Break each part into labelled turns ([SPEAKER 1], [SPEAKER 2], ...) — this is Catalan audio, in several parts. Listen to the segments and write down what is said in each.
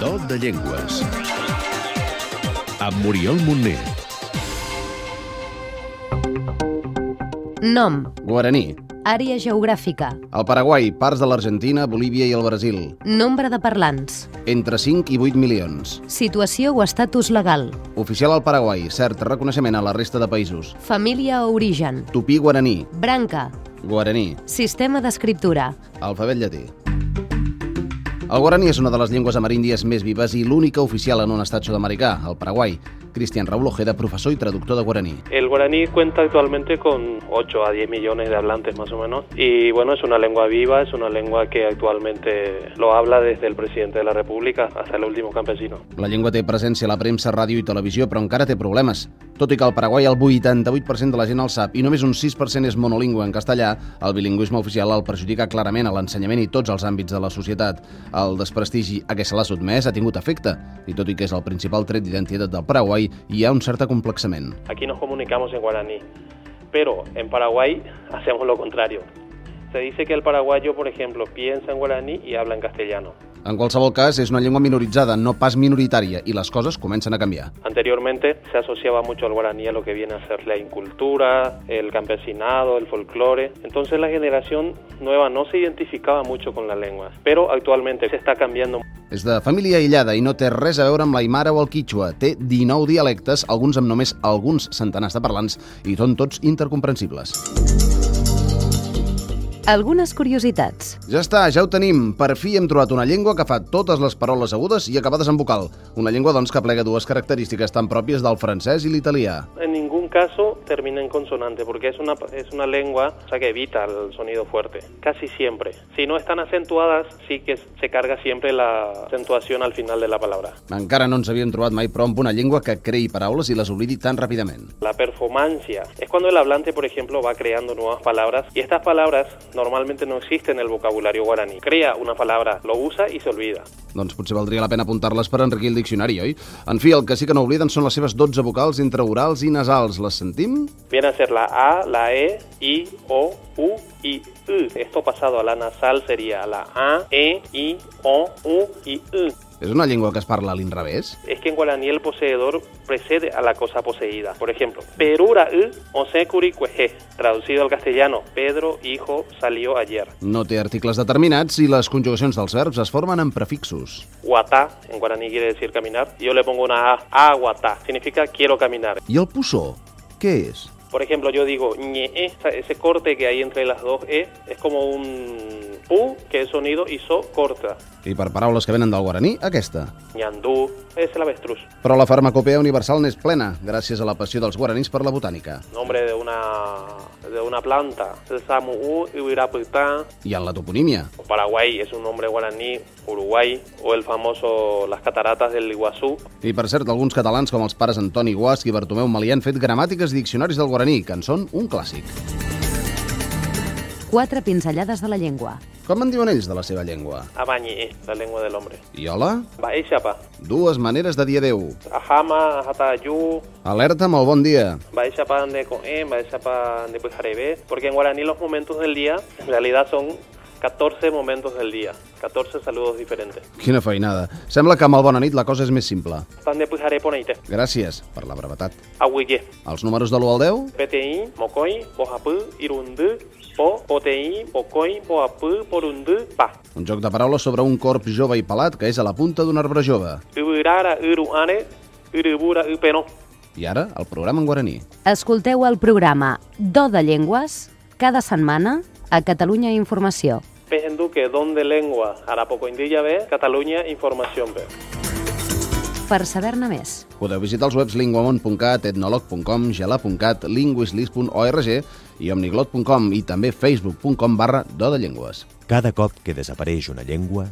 [SPEAKER 1] Do de Llengües. Amb Oriol Montner.
[SPEAKER 2] Nom,
[SPEAKER 3] Guaraní.
[SPEAKER 2] àrea geogràfica,
[SPEAKER 3] Al Paraguai, parts de l'Argentina, Bolívia i el Brasil.
[SPEAKER 2] nombre de parlants,
[SPEAKER 3] Entre 5 i 8 milions.
[SPEAKER 2] situació o estatus legal,
[SPEAKER 3] Oficial al Paraguai, cert reconeixement a la resta de països.
[SPEAKER 2] família o origen,
[SPEAKER 3] Tupí guaraní,
[SPEAKER 2] branca,
[SPEAKER 3] guaraní,
[SPEAKER 2] sistema d'escriptura,
[SPEAKER 3] alfabet llatí. El guaraní és una de les llengües ameríndies més vives i l'única oficial en un estat sud-americà, el Paraguai. Cristian Raúl Ojeda, professor i traductor de guaraní.
[SPEAKER 4] El guaraní cuenta actualmente con 8 a 10 millones de hablantes más o menos y bueno, es una lengua viva, es una lengua que actualmente lo habla desde el presidente de la República hasta el último campesino.
[SPEAKER 3] La llengua té presència a la premsa, ràdio i televisió, però encara té problemes. Tot i que al Paraguai el 88% de la gent el sap i només un 6% és monolingüe en castellà, el bilingüisme oficial el perjudica clarament a l'ensenyament i tots els àmbits de la societat. El desprestigi a què se l'ha sotmès ha tingut efecte, i tot i que és el principal tret d'identitat del Paraguai, hi ha un cert acomplexament.
[SPEAKER 4] Aquí nos comunicamos en guaraní, pero en Paraguay hacemos lo contrario. Se dice que el paraguayo, por ejemplo, piensa en guaraní y habla en castellano.
[SPEAKER 3] En qualsevol cas, és una llengua minoritzada, no pas minoritària, i les coses comencen a canviar.
[SPEAKER 4] Anteriormente se asociaba mucho al guaraní a lo que viene a ser la incultura, el campesinado, el folclore. Entonces la generación nueva no se identificaba mucho con la lengua, pero actualmente se está cambiando.
[SPEAKER 3] És de família aïllada i no té res a veure amb l'aimara o el quichua. Té 19 dialectes, alguns amb només alguns centenars de parlants, i són tots intercomprensibles.
[SPEAKER 2] algunes curiositats.
[SPEAKER 3] Ja està, ja ho tenim. Per fi hem trobat una llengua que fa totes les paraules agudes i acabades en vocal. Una llengua, doncs, que plega dues característiques tan pròpies del francès i l'italià.
[SPEAKER 4] En ningún caso termina en consonante porque es una, es una lengua o sea, que evita el sonido fuerte, casi siempre. Si no están acentuadas, sí que se carga siempre la acentuación al final de la palabra.
[SPEAKER 3] Encara no ens havíem trobat mai, però, amb una llengua que creï paraules i les oblidi tan ràpidament.
[SPEAKER 4] La performancia es cuando el hablante, por ejemplo, va creando nuevas palabras y estas palabras normalmente no existen en el vocabulario guaraní. Crea una palabra, lo usa y se olvida.
[SPEAKER 3] Doncs potser valdria la pena apuntar-les per enriquir el diccionari, oi? En fi, el que sí que no obliden són les seves 12 vocals intraorals i nasals. Les sentim?
[SPEAKER 4] Viene a ser la A, la E, I, O, U y U. Esto pasado a la nasal sería la A, E, I, O, U y U.
[SPEAKER 3] És una llengua que es parla a l'inrevés?
[SPEAKER 4] Es que en guaraní el poseedor precede a la cosa poseída. Por ejemplo, Perura U, Osecuri Cueje, traducido al castellano, Pedro, hijo, salió ayer.
[SPEAKER 3] No té articles determinats i les conjugacions dels verbs es formen amb prefixos.
[SPEAKER 4] Guatá, en guaraní quiere decir caminar. Yo le pongo una A, a guatá, significa quiero caminar.
[SPEAKER 3] I el puçó, què és?
[SPEAKER 4] Por ejemplo, yo digo ñe, e, o sea, ese corte que hay entre las dos E es como un U, que es sonido, y so corta.
[SPEAKER 3] I per paraules que venen del guaraní, aquesta.
[SPEAKER 4] ñandú, es el avestruz,
[SPEAKER 3] Però la farmacopea universal n'és plena, gràcies a la passió dels guaranís per la botànica.
[SPEAKER 4] nombre de una, de una planta. El samu U, Uirapitán.
[SPEAKER 3] I en la toponímia.
[SPEAKER 4] Paraguay es un nombre guaraní, Uruguay, o el famoso las cataratas del Iguazú.
[SPEAKER 3] I per cert, alguns catalans com els pares Antoni Guasc i Bartomeu Malí han fet gramàtiques i diccionaris del guaraní, que en són un clàssic.
[SPEAKER 2] Quatre pinzellades de la llengua.
[SPEAKER 3] Com en diuen ells de la seva llengua?
[SPEAKER 4] Abañe, la lengua del hombre.
[SPEAKER 3] I hola?
[SPEAKER 4] Baeshapa,
[SPEAKER 3] Dues maneres de dir adeu.
[SPEAKER 4] Ajama, Ajatayú,
[SPEAKER 3] Alerta amb el bon dia.
[SPEAKER 4] Baeshapa de Coen, Baeshapa de Pujarebe. Porque en guaraní los momentos del día en realidad son 14 momentos del día, 14 saludos diferentes.
[SPEAKER 3] Quina feinada. Sembla que amb el bona nit la cosa és més simple.
[SPEAKER 4] Pan de Pujarebe Poneite,
[SPEAKER 3] Gràcies per la brevetat.
[SPEAKER 4] Ahuiye,
[SPEAKER 3] Els números de l'1 al 10?
[SPEAKER 4] PTI, Mocoy, Pojapú, Irundú, Po, Poteí, Pocoy, Poapú, Porundú, Pa.
[SPEAKER 3] Un joc de paraules sobre un corp jove i pelat que és a la punta d'un arbre jove.
[SPEAKER 4] Ubirara, Uruane, Urubura, Upeno.
[SPEAKER 3] I ara, el programa en guaraní.
[SPEAKER 2] Escolteu el programa Do de Llengües cada setmana a Catalunya Informació.
[SPEAKER 4] Pejen Duque, don de lengua, Arapoco Indilla B, Cataluña, Información B.
[SPEAKER 2] Per saber-ne més,
[SPEAKER 3] Podeu visitar els webs linguamont.cat, etnolog.com, gelà.cat, linguislis.org i omniglot.com i també facebook.com barra do de llengües.
[SPEAKER 5] Cada cop que desapareix una llengua,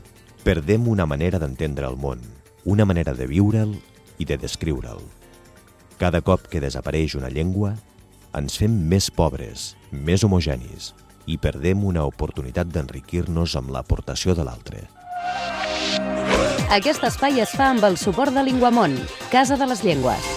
[SPEAKER 5] perdem una manera d'entendre el món, una manera de viure'l i de descriure'l. Cada cop que desapareix una llengua, ens fem més pobres, més homogenis i perdem una oportunitat d'enriquir-nos amb l'aportació de l'altre.
[SPEAKER 2] aquest espai es fa amb el suport de Linguamont, Casa de les Llengües.